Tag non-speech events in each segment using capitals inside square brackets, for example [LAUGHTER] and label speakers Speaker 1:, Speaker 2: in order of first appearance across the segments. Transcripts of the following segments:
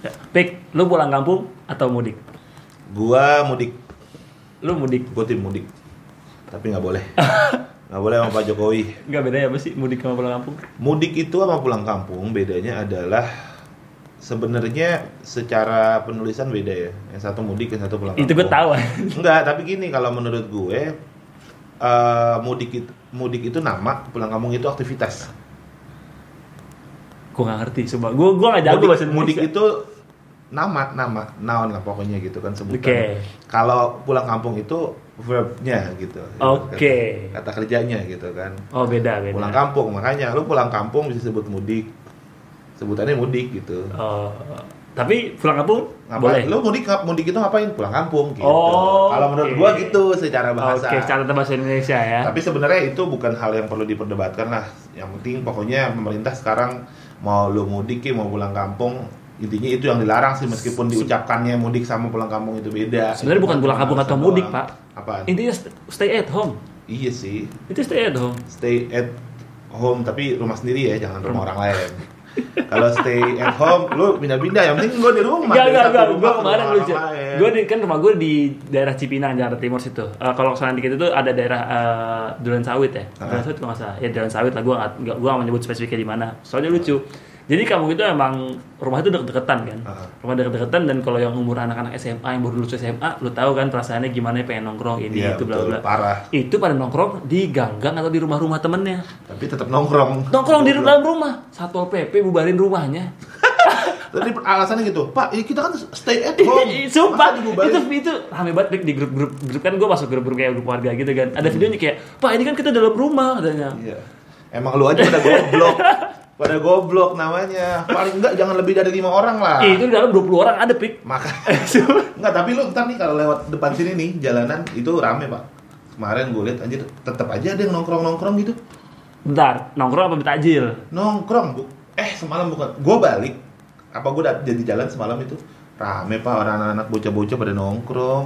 Speaker 1: Ya. Pik, lu pulang kampung atau mudik?
Speaker 2: Gua mudik,
Speaker 1: Lu mudik?
Speaker 2: gua tim mudik. Tapi nggak
Speaker 1: [LAUGHS]
Speaker 2: boleh. Nggak boleh sama Pak Jokowi.
Speaker 1: Nggak bedanya apa sih mudik sama pulang kampung?
Speaker 2: Mudik itu sama pulang kampung bedanya adalah sebenarnya secara penulisan beda ya. Yang satu mudik, yang satu pulang
Speaker 1: Itu gue
Speaker 2: kampung.
Speaker 1: tahu. [LAUGHS]
Speaker 2: Enggak, tapi gini kalau menurut gue eh, mudik itu, mudik itu nama, pulang kampung itu aktivitas.
Speaker 1: gue nggak ngerti, coba. Gue gue nggak jago
Speaker 2: mudik,
Speaker 1: bahasa
Speaker 2: mudik
Speaker 1: Indonesia.
Speaker 2: itu nama nama noun lah pokoknya gitu kan sebutan.
Speaker 1: Oke.
Speaker 2: Kalau pulang kampung itu verbnya gitu.
Speaker 1: Oke.
Speaker 2: Kata, kata kerjanya gitu kan.
Speaker 1: Oh beda beda.
Speaker 2: Pulang kampung makanya lu pulang kampung bisa sebut mudik. Sebutannya mudik gitu.
Speaker 1: Oh, tapi pulang kampung
Speaker 2: Ngapa-
Speaker 1: boleh.
Speaker 2: Lu mudik mudik itu ngapain? Pulang kampung gitu.
Speaker 1: Oh,
Speaker 2: Kalau menurut
Speaker 1: oke.
Speaker 2: gua gitu secara bahasa.
Speaker 1: Oke, catatan bahasa Indonesia ya.
Speaker 2: Tapi sebenarnya itu bukan hal yang perlu diperdebatkan lah. Yang penting pokoknya pemerintah sekarang mau lu mudik ya, mau pulang kampung, intinya itu yang dilarang sih meskipun diucapkannya mudik sama pulang kampung itu beda.
Speaker 1: Sebenarnya
Speaker 2: Itu
Speaker 1: bukan
Speaker 2: kan
Speaker 1: pulang kampung atau
Speaker 2: alasan
Speaker 1: mudik,
Speaker 2: doang.
Speaker 1: Pak.
Speaker 2: Apaan?
Speaker 1: Intinya st- stay at home.
Speaker 2: Iya sih,
Speaker 1: Itu stay at home.
Speaker 2: stay at home tapi rumah sendiri ya, jangan rumah orang lain. Kalau stay at home, lu pindah-pindah. Yang penting gua di rumah.
Speaker 1: Enggak,
Speaker 2: dari
Speaker 1: enggak,
Speaker 2: satu
Speaker 1: enggak.
Speaker 2: rumah
Speaker 1: Gue
Speaker 2: ke
Speaker 1: kemarin
Speaker 2: rumah
Speaker 1: lucu.
Speaker 2: orang lain.
Speaker 1: Gue di, kan rumah gue di daerah Cipinang, Jakarta Timur situ. Eh, kalau kesana dikit itu ada daerah eh, Duren Sawit ya. Duren
Speaker 2: Ah.
Speaker 1: Sawit kalau nggak salah. Ya Duren Sawit lah. Gue nggak gue mau nyebut spesifiknya di mana. Soalnya lucu. Jadi kamu itu emang rumah itu deket-deketan kan.
Speaker 2: Ah.
Speaker 1: Rumah deket-deketan dan kalau yang umur anak-anak SMA yang baru lulus SMA, lu tahu kan perasaannya gimana pengen nongkrong ini
Speaker 2: Iya,
Speaker 1: itu bla
Speaker 2: betul,
Speaker 1: bla.
Speaker 2: parah.
Speaker 1: Itu pada nongkrong di ganggang atau di rumah-rumah temennya.
Speaker 2: Tapi tetap nongkrong.
Speaker 1: Nongkrong di dalam rumah. Satpol PP bubarin rumahnya.
Speaker 2: Tadi alasannya gitu, Pak, ya kita kan stay at
Speaker 1: [LAUGHS]
Speaker 2: home.
Speaker 1: Sumpah,
Speaker 2: Masa dibubarin?
Speaker 1: itu itu rame banget Pik, di grup-grup grup kan gue masuk grup-grup kayak grup warga gitu kan. Ada videonya kayak, "Pak, ini kan kita dalam rumah," katanya.
Speaker 2: Iya. Emang lu aja pada goblok. pada goblok namanya. Paling enggak jangan lebih dari lima orang lah.
Speaker 1: Ih, itu di dalam 20 orang ada, Pik. [LAUGHS]
Speaker 2: Maka enggak tapi lu ntar nih kalau lewat depan sini nih jalanan itu rame, Pak. Kemarin gue lihat anjir tetap aja ada yang nongkrong-nongkrong gitu.
Speaker 1: Bentar, nongkrong apa betajil?
Speaker 2: Nongkrong, Bu. Eh, semalam bukan. Gue balik. Apa gue jadi jalan semalam itu? Rame, Pak, orang anak-anak bocah-bocah pada nongkrong.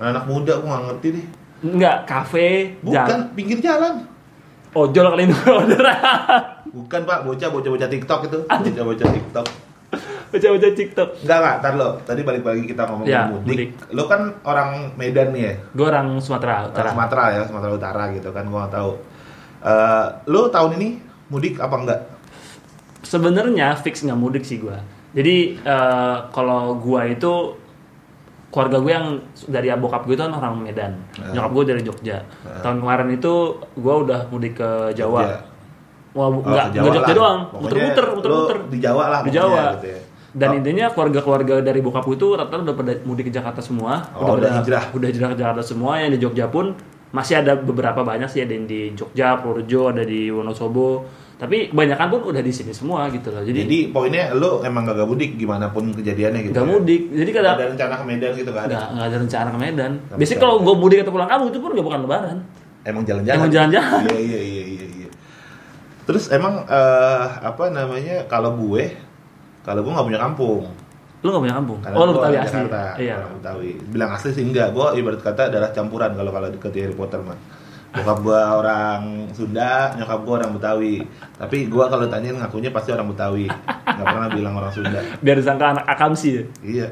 Speaker 2: Anak-anak muda gue nggak ngerti deh.
Speaker 1: Enggak, kafe, jam.
Speaker 2: Bukan pinggir jalan.
Speaker 1: Ojol kali ini [LAUGHS] orderan.
Speaker 2: Bukan, Pak, bocah bocah-bocah TikTok itu. Bocah-bocah TikTok.
Speaker 1: Baca-baca TikTok.
Speaker 2: Enggak, enggak, ntar lo. Tadi balik-balik kita ngomong
Speaker 1: Ya, mudik.
Speaker 2: mudik. Lo kan orang Medan nih ya,
Speaker 1: Gue orang Sumatera
Speaker 2: orang
Speaker 1: Utara.
Speaker 2: Sumatera ya, Sumatera Utara gitu kan, gua nggak tahu. Eh, lo tahun ini mudik apa enggak?
Speaker 1: Sebenarnya fix nggak mudik sih gue. Jadi eh, kalau gue itu keluarga gue yang dari bokap gue itu kan orang Medan,
Speaker 2: Ah.
Speaker 1: nyokap gue dari Jogja. Tahun kemarin itu gue udah mudik ke Jawa.
Speaker 2: Iya. Jogja.
Speaker 1: Wah, bu-
Speaker 2: Oh,
Speaker 1: nggak
Speaker 2: ke Jawa
Speaker 1: nggak Jogja
Speaker 2: lah.
Speaker 1: doang,
Speaker 2: Pokoknya
Speaker 1: muter-muter,
Speaker 2: lo
Speaker 1: muter-muter
Speaker 2: di Jawa lah
Speaker 1: di
Speaker 2: pokoknya
Speaker 1: Jawa.
Speaker 2: gitu ya.
Speaker 1: Dan
Speaker 2: Oh.
Speaker 1: intinya keluarga-keluarga dari bokap gue itu rata-rata udah pada mudik ke Jakarta semua,
Speaker 2: Oh, udah
Speaker 1: pada-
Speaker 2: hijrah.
Speaker 1: udah hijrah ke Jakarta semua. Yang di Jogja pun masih ada beberapa banyak sih ada yang di Jogja, Purworejo, ada di Wonosobo. Tapi kebanyakan pun udah di sini semua gitu loh.
Speaker 2: Jadi,
Speaker 1: Jadi
Speaker 2: poinnya lo emang gak mudik gimana pun kejadiannya gitu.
Speaker 1: nggak
Speaker 2: ya?
Speaker 1: mudik. Jadi
Speaker 2: Nggak
Speaker 1: kadang
Speaker 2: Ada rencana ke Medan gitu kan?
Speaker 1: nggak nggak ada rencana ke Medan.
Speaker 2: Nggak
Speaker 1: Biasanya
Speaker 2: bisa.
Speaker 1: kalau gue mudik atau pulang kampung itu pun nggak bukan Lebaran.
Speaker 2: Emang jalan-jalan.
Speaker 1: Emang jalan-jalan.
Speaker 2: Iya iya iya iya. iya. Terus emang eh, apa namanya kalau gue kalau gue nggak punya kampung.
Speaker 1: Lu nggak punya kampung.
Speaker 2: Karena
Speaker 1: Oh lu
Speaker 2: gua
Speaker 1: Betawi
Speaker 2: orang
Speaker 1: asli.
Speaker 2: Jakarta,
Speaker 1: Iya.
Speaker 2: orang Betawi. Bilang asli sih enggak, gua ibarat kata darah campuran kalau kalau deket Harry Potter mah. Bokap gua orang Sunda, nyokap gua orang Betawi. Tapi gua kalau tanyain ngakunya pasti orang Betawi. Enggak pernah bilang orang Sunda.
Speaker 1: Biar disangka anak akamsi. ya.
Speaker 2: Iya,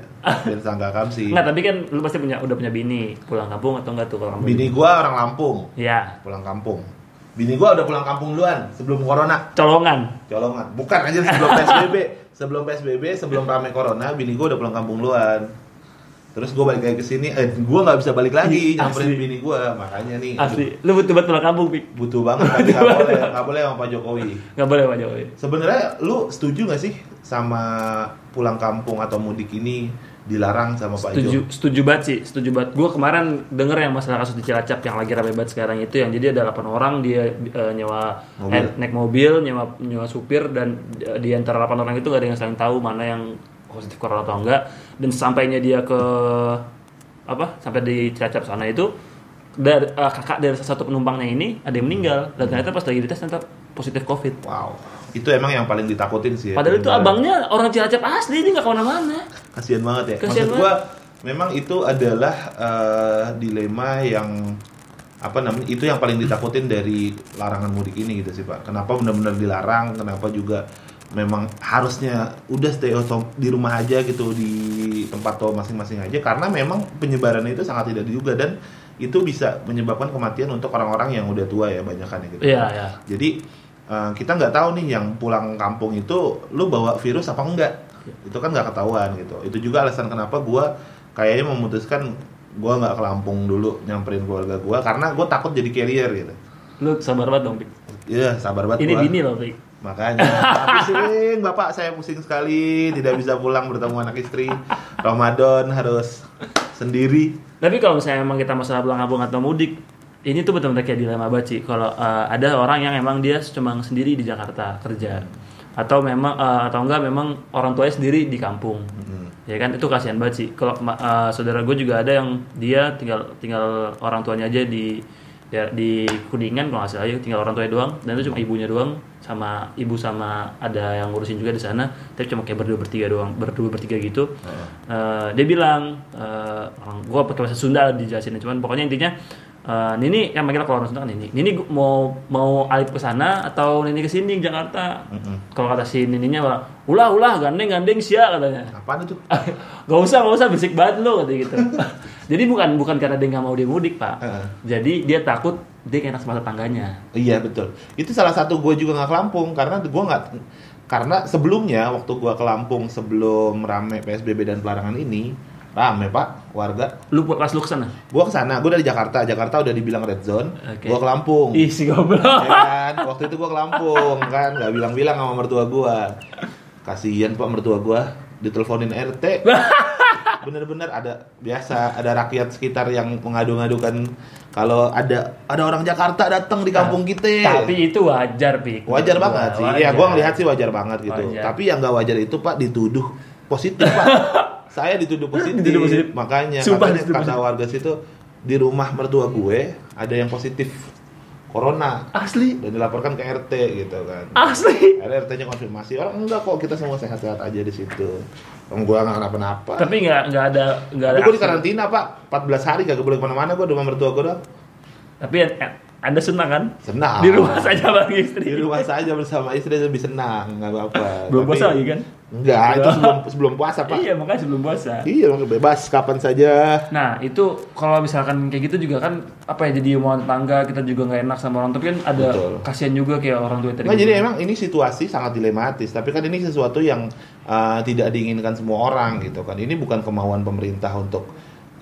Speaker 2: biar sangka kamsi.
Speaker 1: Nggak, tapi kan lu pasti punya udah punya bini pulang kampung atau enggak tuh kalau kampung?
Speaker 2: Bini gua orang Lampung,
Speaker 1: Ya,
Speaker 2: pulang kampung. Bini gua udah pulang kampung duluan sebelum corona.
Speaker 1: colongan.
Speaker 2: Colongan. Bukan aja sebelum PSBB. Sebelum PSBB, sebelum rame corona, bini gue udah pulang kampung luan. Terus gue balik lagi ke sini, eh gue nggak bisa balik
Speaker 1: Ih,
Speaker 2: lagi nyamperin
Speaker 1: asli.
Speaker 2: bini gue, makanya nih aduh,
Speaker 1: Asli. Lu butuh banget pulang kampung, Pik.
Speaker 2: butuh
Speaker 1: [LAUGHS]
Speaker 2: banget tapi nggak boleh, nggak boleh sama Pak Jokowi.
Speaker 1: Nggak boleh Pak Jokowi.
Speaker 2: Sebenarnya lu setuju nggak sih sama pulang kampung atau mudik ini dilarang sama Pak
Speaker 1: Setuju,
Speaker 2: Jokowi?
Speaker 1: setuju banget sih, setuju banget. Gue kemarin denger yang masalah kasus di Cilacap yang lagi rame banget sekarang itu yang jadi ada 8 orang dia eh, nyewa
Speaker 2: Mobil.
Speaker 1: eh, naik mobil, nyewa nyewa supir dan eh, di antara 8 orang itu gak ada yang saling tahu mana yang positif corona atau enggak dan sampainya dia ke apa sampai di Cilacap sana itu dari eh, kakak dari salah satu penumpangnya ini ada yang meninggal dan ternyata pas lagi dites ternyata positif covid.
Speaker 2: Wow, itu emang yang paling ditakutin sih. Ya,
Speaker 1: Padahal itu
Speaker 2: penyebaran.
Speaker 1: abangnya orang Cilacap asli dia nggak kemana-mana.
Speaker 2: kasihan banget ya.
Speaker 1: Kasihan
Speaker 2: Maksud gua memang itu adalah eh, dilema yang apa namanya itu yang paling ditakutin dari larangan mudik ini gitu sih pak kenapa benar-benar dilarang kenapa juga memang harusnya udah stay at home di rumah aja gitu di tempat lo masing-masing aja karena memang penyebarannya itu sangat tidak diduga dan itu bisa menyebabkan kematian untuk orang-orang yang udah tua ya banyakan gitu
Speaker 1: Iya, iya.
Speaker 2: jadi eh, kita nggak tahu nih yang pulang kampung itu lu bawa virus apa enggak.
Speaker 1: Iya.
Speaker 2: Itu kan nggak ketahuan gitu. Itu juga alasan kenapa gua kayaknya memutuskan gua nggak ke Lampung dulu nyamperin keluarga gua karena gua takut jadi carrier gitu.
Speaker 1: Lu sabar banget dong, Pik.
Speaker 2: Iya, sabar banget
Speaker 1: Ini
Speaker 2: gua.
Speaker 1: bini loh, Pik.
Speaker 2: Makanya Tapi pusing, Bapak saya pusing sekali, tidak bisa pulang bertemu anak
Speaker 1: [LAUGHS]
Speaker 2: istri. Ramadan harus sendiri.
Speaker 1: Tapi kalau misalnya emang kita masalah pulang kampung atau mudik, ini tuh betul-betul kayak dilema baci. Kalau eh, ada orang yang emang dia cuma sendiri di Jakarta kerja, atau memang eh, atau enggak memang orang tuanya sendiri di kampung, ya kan itu kasihan baci. Kalau ma- eh, saudara gue juga ada yang dia tinggal tinggal orang tuanya aja di ya, di kuningan kalau nggak salah ya, tinggal orang tuanya doang dan itu cuma ibunya doang sama ibu sama ada yang ngurusin juga di sana tapi cuma kayak berdua bertiga doang berdua bertiga gitu Eh, dia bilang eh, orang gua pakai bahasa Sunda dijelasin cuman pokoknya intinya eh, Nini yang manggil kalau orang Sunda kan Nini Nini gua- mau mau alip ke sana atau Nini ke sini ke Jakarta kalau kata si Nininya orang ulah ulah gandeng gandeng sia katanya
Speaker 2: Apaan itu?
Speaker 1: [LAUGHS] gak usah gak usah berisik banget lo kata
Speaker 2: [LAUGHS]
Speaker 1: gitu jadi bukan bukan karena dia nggak mau dia mudik pak
Speaker 2: Heeh.
Speaker 1: jadi dia takut dia kena sama tetangganya
Speaker 2: Iya betul. Itu salah satu gue juga nggak ke Lampung karena gue nggak karena sebelumnya waktu gue ke Lampung sebelum rame PSBB dan pelarangan ini rame pak warga.
Speaker 1: lu pas lu kesana
Speaker 2: Gue ke sana, gue dari Jakarta. Jakarta udah dibilang red zone.
Speaker 1: Oke. Iya.
Speaker 2: Gue ke Lampung.
Speaker 1: ih si goblok
Speaker 2: Ya kan? Waktu itu gue ke Lampung kan, nggak bilang-bilang sama mertua gue. Kasihan pak mertua gue diteleponin RT. Bener-bener ada biasa ada rakyat sekitar yang mengadu-ngadukan kalau ada ada orang Jakarta datang di kampung kita.
Speaker 1: Ah, tapi itu wajar pik
Speaker 2: Eh. Wajar banget sih. Iya, gua ngelihat sih wajar banget gitu.
Speaker 1: Wajar.
Speaker 2: Tapi yang nggak wajar itu Pak dituduh positif,
Speaker 1: [LAUGHS]
Speaker 2: Pak. Saya dituduh positif.
Speaker 1: Dituduh positif.
Speaker 2: Makanya
Speaker 1: Sumpah
Speaker 2: katanya
Speaker 1: dituduh
Speaker 2: kata warga situ di rumah mertua gue ada yang positif corona
Speaker 1: asli
Speaker 2: dan dilaporkan ke RT gitu kan.
Speaker 1: asli
Speaker 2: Akhirnya RT-nya konfirmasi, orang enggak kok kita semua sehat-sehat aja di situ. Om gua nggak kenapa-napa. Tapi,
Speaker 1: tapi nggak nggak ada nggak ada
Speaker 2: gue di
Speaker 1: aksen.
Speaker 2: karantina pak, 14 hari kagak boleh kemana-mana gue di rumah mertua gue doang.
Speaker 1: tapi eh, anda senang kan
Speaker 2: Senang.
Speaker 1: di rumah saja bang
Speaker 2: Ah. di
Speaker 1: istri
Speaker 2: rumah saja bersama istri lebih senang nggak apa-apa
Speaker 1: belum
Speaker 2: Tapi-
Speaker 1: puasa lagi kan
Speaker 2: enggak itu sebelum sebelum puasa pak
Speaker 1: iya makanya sebelum puasa
Speaker 2: iya emang bebas kapan saja
Speaker 1: Nah itu kalau misalkan kayak gitu juga kan apa ya jadi omongan tetangga kita juga nggak enak sama orang tapi kan ada
Speaker 2: Betul.
Speaker 1: kasihan juga kayak orang tua tadi.
Speaker 2: Nah, jadi emang ini situasi sangat dilematis, tapi kan ini sesuatu yang uh, tidak diinginkan semua orang gitu kan. Ini bukan kemauan pemerintah untuk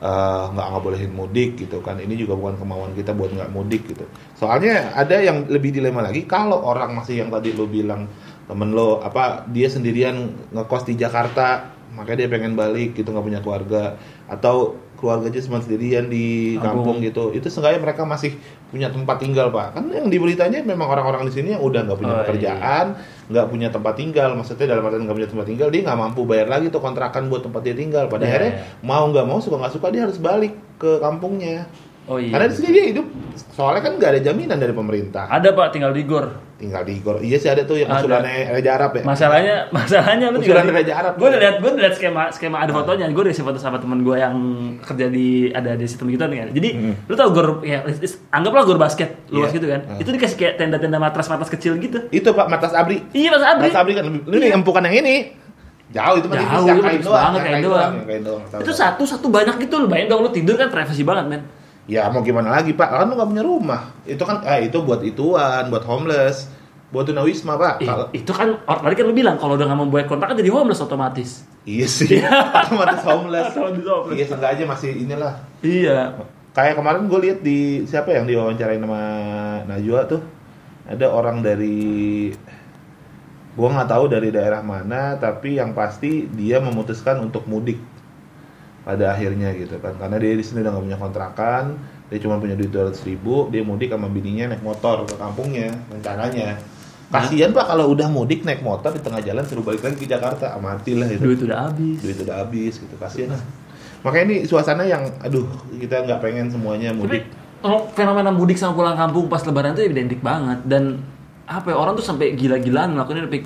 Speaker 2: uh, nggak ngebolehin mudik gitu kan. Ini juga bukan kemauan kita buat nggak mudik gitu. Soalnya ada yang lebih dilema lagi kalau orang masih yang tadi lo bilang temen lo apa dia sendirian ngekos di Jakarta, makanya dia pengen balik gitu nggak punya keluarga atau keluarganya cuma sendirian di
Speaker 1: Kampung.
Speaker 2: kampung gitu itu seenggaknya mereka masih punya tempat tinggal pak kan yang di beritanya memang orang-orang di sini yang udah nggak punya
Speaker 1: Oh, iya.
Speaker 2: pekerjaan nggak punya tempat tinggal maksudnya dalam artian nggak punya tempat tinggal dia nggak mampu bayar lagi tuh kontrakan buat tempat dia tinggal pada
Speaker 1: Iya,
Speaker 2: akhirnya
Speaker 1: iya.
Speaker 2: mau nggak mau suka nggak suka dia harus balik ke kampungnya
Speaker 1: Oh iya.
Speaker 2: karena di sini dia hidup soalnya kan nggak ada jaminan dari pemerintah
Speaker 1: Ada pak tinggal di gor.
Speaker 2: tinggal di Gor iya sih ada tuh yang
Speaker 1: Ada.
Speaker 2: usulannya Raja Arab ya
Speaker 1: Masalahnya [LAUGHS] masalahnya lu tinggal
Speaker 2: Usulan
Speaker 1: di-
Speaker 2: Raja Arab. Ah.
Speaker 1: Gue udah lihat gue udah lihat skema skema ada fotonya. Gue udah isi foto sama temen gue yang kerja di ada di sistem gitu kan. Jadi lu tau gor ya is- anggaplah gor basket luas
Speaker 2: Hmm. Iya.
Speaker 1: gitu kan. Itu dikasih kayak tenda-tenda matras-matras kecil gitu.
Speaker 2: itu pak Matas Abri
Speaker 1: Iya mas Abri. Iya.
Speaker 2: Matas Abri kan lebih- lu nih empukan yang ini jauh itu mah tipis,
Speaker 1: Jauh, itu mah
Speaker 2: yang kain
Speaker 1: tipis
Speaker 2: doang,
Speaker 1: banget,
Speaker 2: yang
Speaker 1: kain doang.
Speaker 2: yang kain doang
Speaker 1: Itu satu satu banyak gitu lu bayangin dong lu tidur kan privasi banget men.
Speaker 2: Ya mau gimana lagi pak, kan lu gak punya rumah Itu kan, eh itu buat ituan, buat homeless Buat tunawisma pak
Speaker 1: Ih,
Speaker 2: Kalau-
Speaker 1: itu kan or- tadi kan lu bilang kalau udah nggak membuat kontrak kan jadi homeless otomatis.
Speaker 2: Iya sih, otomatis homeless
Speaker 1: Otomatis homeless.
Speaker 2: Iya seenggaknya masih inilah
Speaker 1: Iya.
Speaker 2: Kayak kemarin gue lihat di, siapa yang diwawancarain sama Najwa tuh Ada orang dari, gue gak tahu dari daerah mana Tapi yang pasti dia memutuskan untuk mudik pada akhirnya gitu kan karena dia di sini udah gak punya kontrakan dia cuma punya duit 200 ribu dia mudik sama bininya naik motor ke kampungnya rencananya kasihan pak kalau udah mudik naik motor di tengah jalan suruh balik lagi ke Jakarta ah, mati lah itu
Speaker 1: Duit udah habis.
Speaker 2: duit udah habis gitu kasihan lah makanya ini suasana yang aduh kita nggak pengen semuanya
Speaker 1: Tapi
Speaker 2: mudik
Speaker 1: kalau fenomena mudik sama pulang kampung pas lebaran itu identik banget dan apa ya, orang tuh sampai gila-gilaan melakukannya Pik.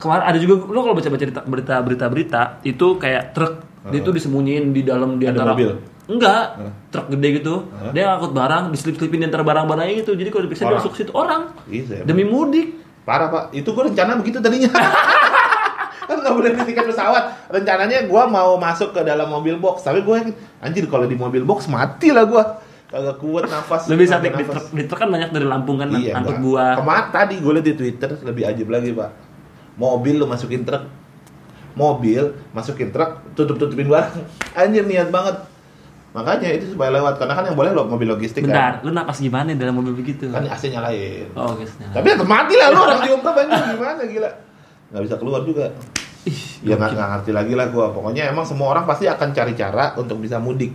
Speaker 1: Kemarin ada juga lo kalau baca-baca cerita- berita-berita berita itu kayak truk dia tuh disembunyiin di dalam di
Speaker 2: Ada
Speaker 1: antara
Speaker 2: mobil.
Speaker 1: Enggak, truk gede gitu.
Speaker 2: Hah?
Speaker 1: Dia ngangkut barang, diselip-selipin di antara barang-barangnya gitu. Jadi kalau diperiksa dia
Speaker 2: Orang.
Speaker 1: masuk ke situ orang.
Speaker 2: Bisa. ya.
Speaker 1: Demi mudik.
Speaker 2: Parah pak, itu gue rencana begitu tadinya. [LAUGHS] kan nggak boleh beli tiket pesawat. Rencananya gue mau masuk ke dalam mobil box, tapi gue anjir kalau di mobil box mati lah gue. Kagak kuat nafas.
Speaker 1: Lebih
Speaker 2: kagak
Speaker 1: sampai di
Speaker 2: nafas.
Speaker 1: truk, di truk kan banyak dari Lampung kan
Speaker 2: Iya,
Speaker 1: angkut
Speaker 2: Pak.
Speaker 1: buah.
Speaker 2: Kemarin tadi gue liat di Twitter lebih ajaib lagi pak. Mobil lu masukin truk, mobil masukin truk, tutup tutupin barang. [LAUGHS] Anjir niat banget. Makanya itu supaya lewat karena kan yang boleh lo mobil logistik
Speaker 1: Bentar,
Speaker 2: kan.
Speaker 1: lu napas gimana dalam mobil begitu?
Speaker 2: Kan AC nyalain.
Speaker 1: Oh, oke. senang.
Speaker 2: Tapi tetap mati lah lu orang diungkap anjir gimana gila. Nggak bisa keluar juga.
Speaker 1: Ih,
Speaker 2: Ya nggak nggak ngerti lagi lah gua. Pokoknya emang semua orang pasti akan cari cara untuk bisa mudik.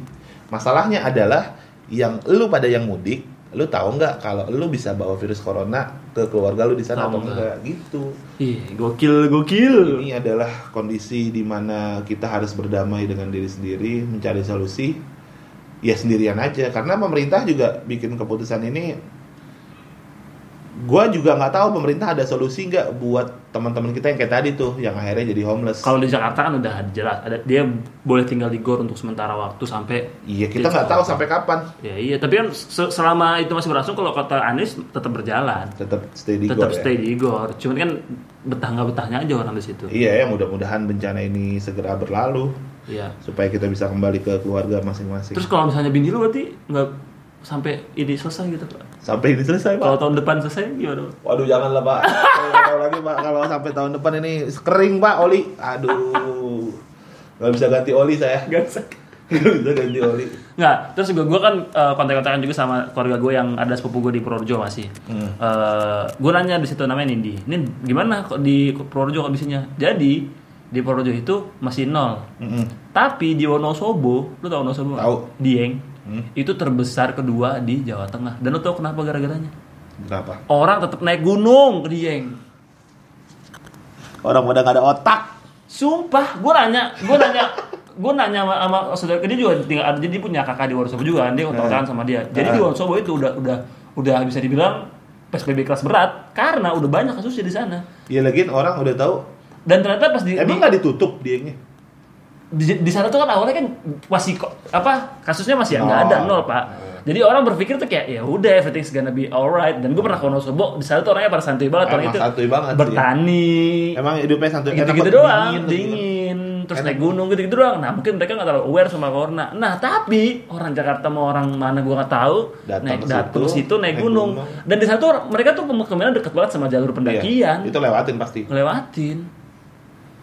Speaker 2: Masalahnya adalah yang lu pada yang mudik, lu tahu nggak kalau lu bisa bawa virus corona ke keluarga lu di sana
Speaker 1: Tahu
Speaker 2: atau enggak gitu.
Speaker 1: ih, gokil, gokil.
Speaker 2: Ini adalah kondisi di mana kita harus berdamai dengan diri sendiri, mencari solusi ya sendirian aja karena pemerintah juga bikin keputusan ini gua juga nggak tahu pemerintah ada solusi nggak buat teman-teman kita yang kayak tadi tuh yang akhirnya jadi homeless.
Speaker 1: Kalau di Jakarta kan udah jelas, ada dia boleh tinggal di gor untuk sementara waktu sampai
Speaker 2: Iya, kita nggak tahu sampai kapan.
Speaker 1: Ya iya, tapi kan se- selama itu masih berlangsung kalau kata Anies tetap berjalan,
Speaker 2: Tetap stay di
Speaker 1: tetap
Speaker 2: gor ya.
Speaker 1: stay di gor. Cuman kan betah nggak betahnya aja orang di situ.
Speaker 2: Iya, ya, mudah-mudahan bencana ini segera berlalu
Speaker 1: Iya.
Speaker 2: supaya kita bisa kembali ke keluarga masing-masing.
Speaker 1: Terus kalau misalnya bini lu berarti nggak sampai ini selesai gitu Pak.
Speaker 2: Sampai ini selesai, Pak.
Speaker 1: Kalau tahun depan selesai gimana? Pak?
Speaker 2: Waduh, janganlah, Pak. Kalau nggak tahu lagi, Pak, kalau sampai tahun depan ini kering, Pak, oli. Aduh. Nggak bisa ganti oli saya.
Speaker 1: Nggak bisa.
Speaker 2: Nggak bisa ganti oli.
Speaker 1: Nggak. Terus gue gue kan eh, kontak-kontakan juga sama keluarga gue yang ada sepupu gue di Purworejo masih.
Speaker 2: Hmm.
Speaker 1: Eh, gue nanya di situ namanya Nindi. Ini gimana kok di Purworejo kondisinya? Jadi di Purworejo itu masih nol.
Speaker 2: Mm-mm.
Speaker 1: Tapi di Wonosobo, lu tau Wonosobo? nggak?
Speaker 2: Tahu.
Speaker 1: Dieng.
Speaker 2: Hmm.
Speaker 1: Itu terbesar kedua di Jawa Tengah. Dan lu tau kenapa gara-garanya?
Speaker 2: Kenapa?
Speaker 1: Orang tetap naik gunung ke Dieng.
Speaker 2: Orang pada nggak ada otak.
Speaker 1: Sumpah, gue nanya, gue nanya, gue nanya sama, sama saudara dia juga tinggal ada jadi dia punya kakak di Wonosobo juga kan, dia
Speaker 2: Eh.
Speaker 1: kontak sama dia. Jadi di Wonosobo itu udah udah udah bisa dibilang PSBB kelas berat karena udah banyak kasusnya di sana.
Speaker 2: Ya lagi orang udah tahu.
Speaker 1: Dan ternyata pas di di,
Speaker 2: Emang nggak ditutup dianya?
Speaker 1: di, di sana tuh kan awalnya kan masih ko- apa kasusnya masih nggak
Speaker 2: Nol.
Speaker 1: ada nol pak. Jadi orang berpikir tuh kayak ya udah everything's gonna be alright. Dan gue pernah ke Wonosobo di sana tuh orangnya pada santuy banget orang
Speaker 2: Emang
Speaker 1: itu
Speaker 2: santuy banget iya. sih.
Speaker 1: bertani.
Speaker 2: Emang hidupnya santuy
Speaker 1: gitu-gitu
Speaker 2: enak banget,
Speaker 1: doang dingin,
Speaker 2: terus gitu.
Speaker 1: terus
Speaker 2: Enak.
Speaker 1: naik gunung gitu-gitu doang nah mungkin mereka nggak terlalu aware sama corona nah tapi orang Jakarta mau orang mana gua nggak tahu
Speaker 2: Datang
Speaker 1: naik
Speaker 2: ke
Speaker 1: datang ke
Speaker 2: situ,
Speaker 1: situ naik
Speaker 2: naik
Speaker 1: gunung
Speaker 2: gunung.
Speaker 1: dan di satu mereka tuh pemukiman dekat banget sama jalur
Speaker 2: Iya, Iya.
Speaker 1: pendakian
Speaker 2: Itu lewatin pasti.
Speaker 1: ngelewatin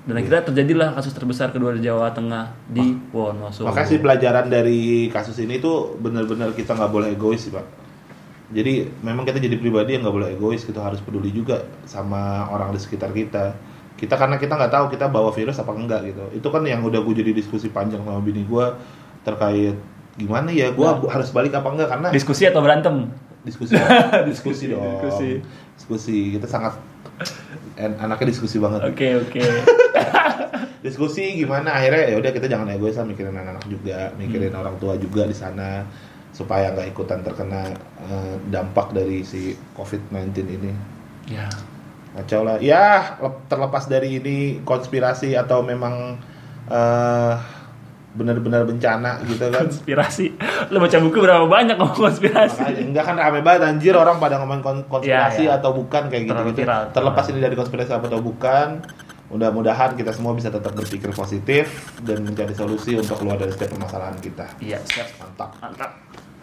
Speaker 1: dan akhirnya terjadilah kasus terbesar kedua di Jawa Tengah di Wonosobo
Speaker 2: Makanya sih pelajaran dari kasus ini tuh benar-benar kita nggak boleh egois sih pak. Jadi memang kita jadi pribadi yang nggak boleh egois, kita harus peduli juga sama orang di sekitar kita. Kita karena kita nggak tahu kita bawa virus apa enggak gitu. Itu kan yang udah gue jadi diskusi panjang sama bini gue terkait gimana ya gue harus balik apa enggak karena
Speaker 1: diskusi atau berantem
Speaker 2: diskusi [LAUGHS] diskusi dong
Speaker 1: diskusi.
Speaker 2: diskusi. kita sangat en- anaknya diskusi banget
Speaker 1: oke
Speaker 2: [LAUGHS]
Speaker 1: oke
Speaker 2: diskusi gimana akhirnya ya udah kita jangan egois lah mikirin anak-anak juga mikirin orang tua juga di sana supaya nggak ikutan terkena eh, dampak dari si COVID-19 ini
Speaker 1: ya
Speaker 2: kacau lah ya lep- terlepas dari ini konspirasi atau memang eh, benar-benar bencana gitu kan
Speaker 1: konspirasi lo baca buku berapa banyak ngomong konspirasi
Speaker 2: Makanya, enggak kan rame banget anjir orang pada ngomongin kon- konspirasi
Speaker 1: Iya, iya.
Speaker 2: atau bukan kayak gitu,
Speaker 1: Terlalu
Speaker 2: gitu.
Speaker 1: viral.
Speaker 2: Terlepas ini dari konspirasi apa atau bukan, mudah-mudahan kita semua bisa tetap berpikir positif dan mencari solusi untuk keluar dari setiap permasalahan kita.
Speaker 1: iya siap
Speaker 2: Mantap.
Speaker 1: mantap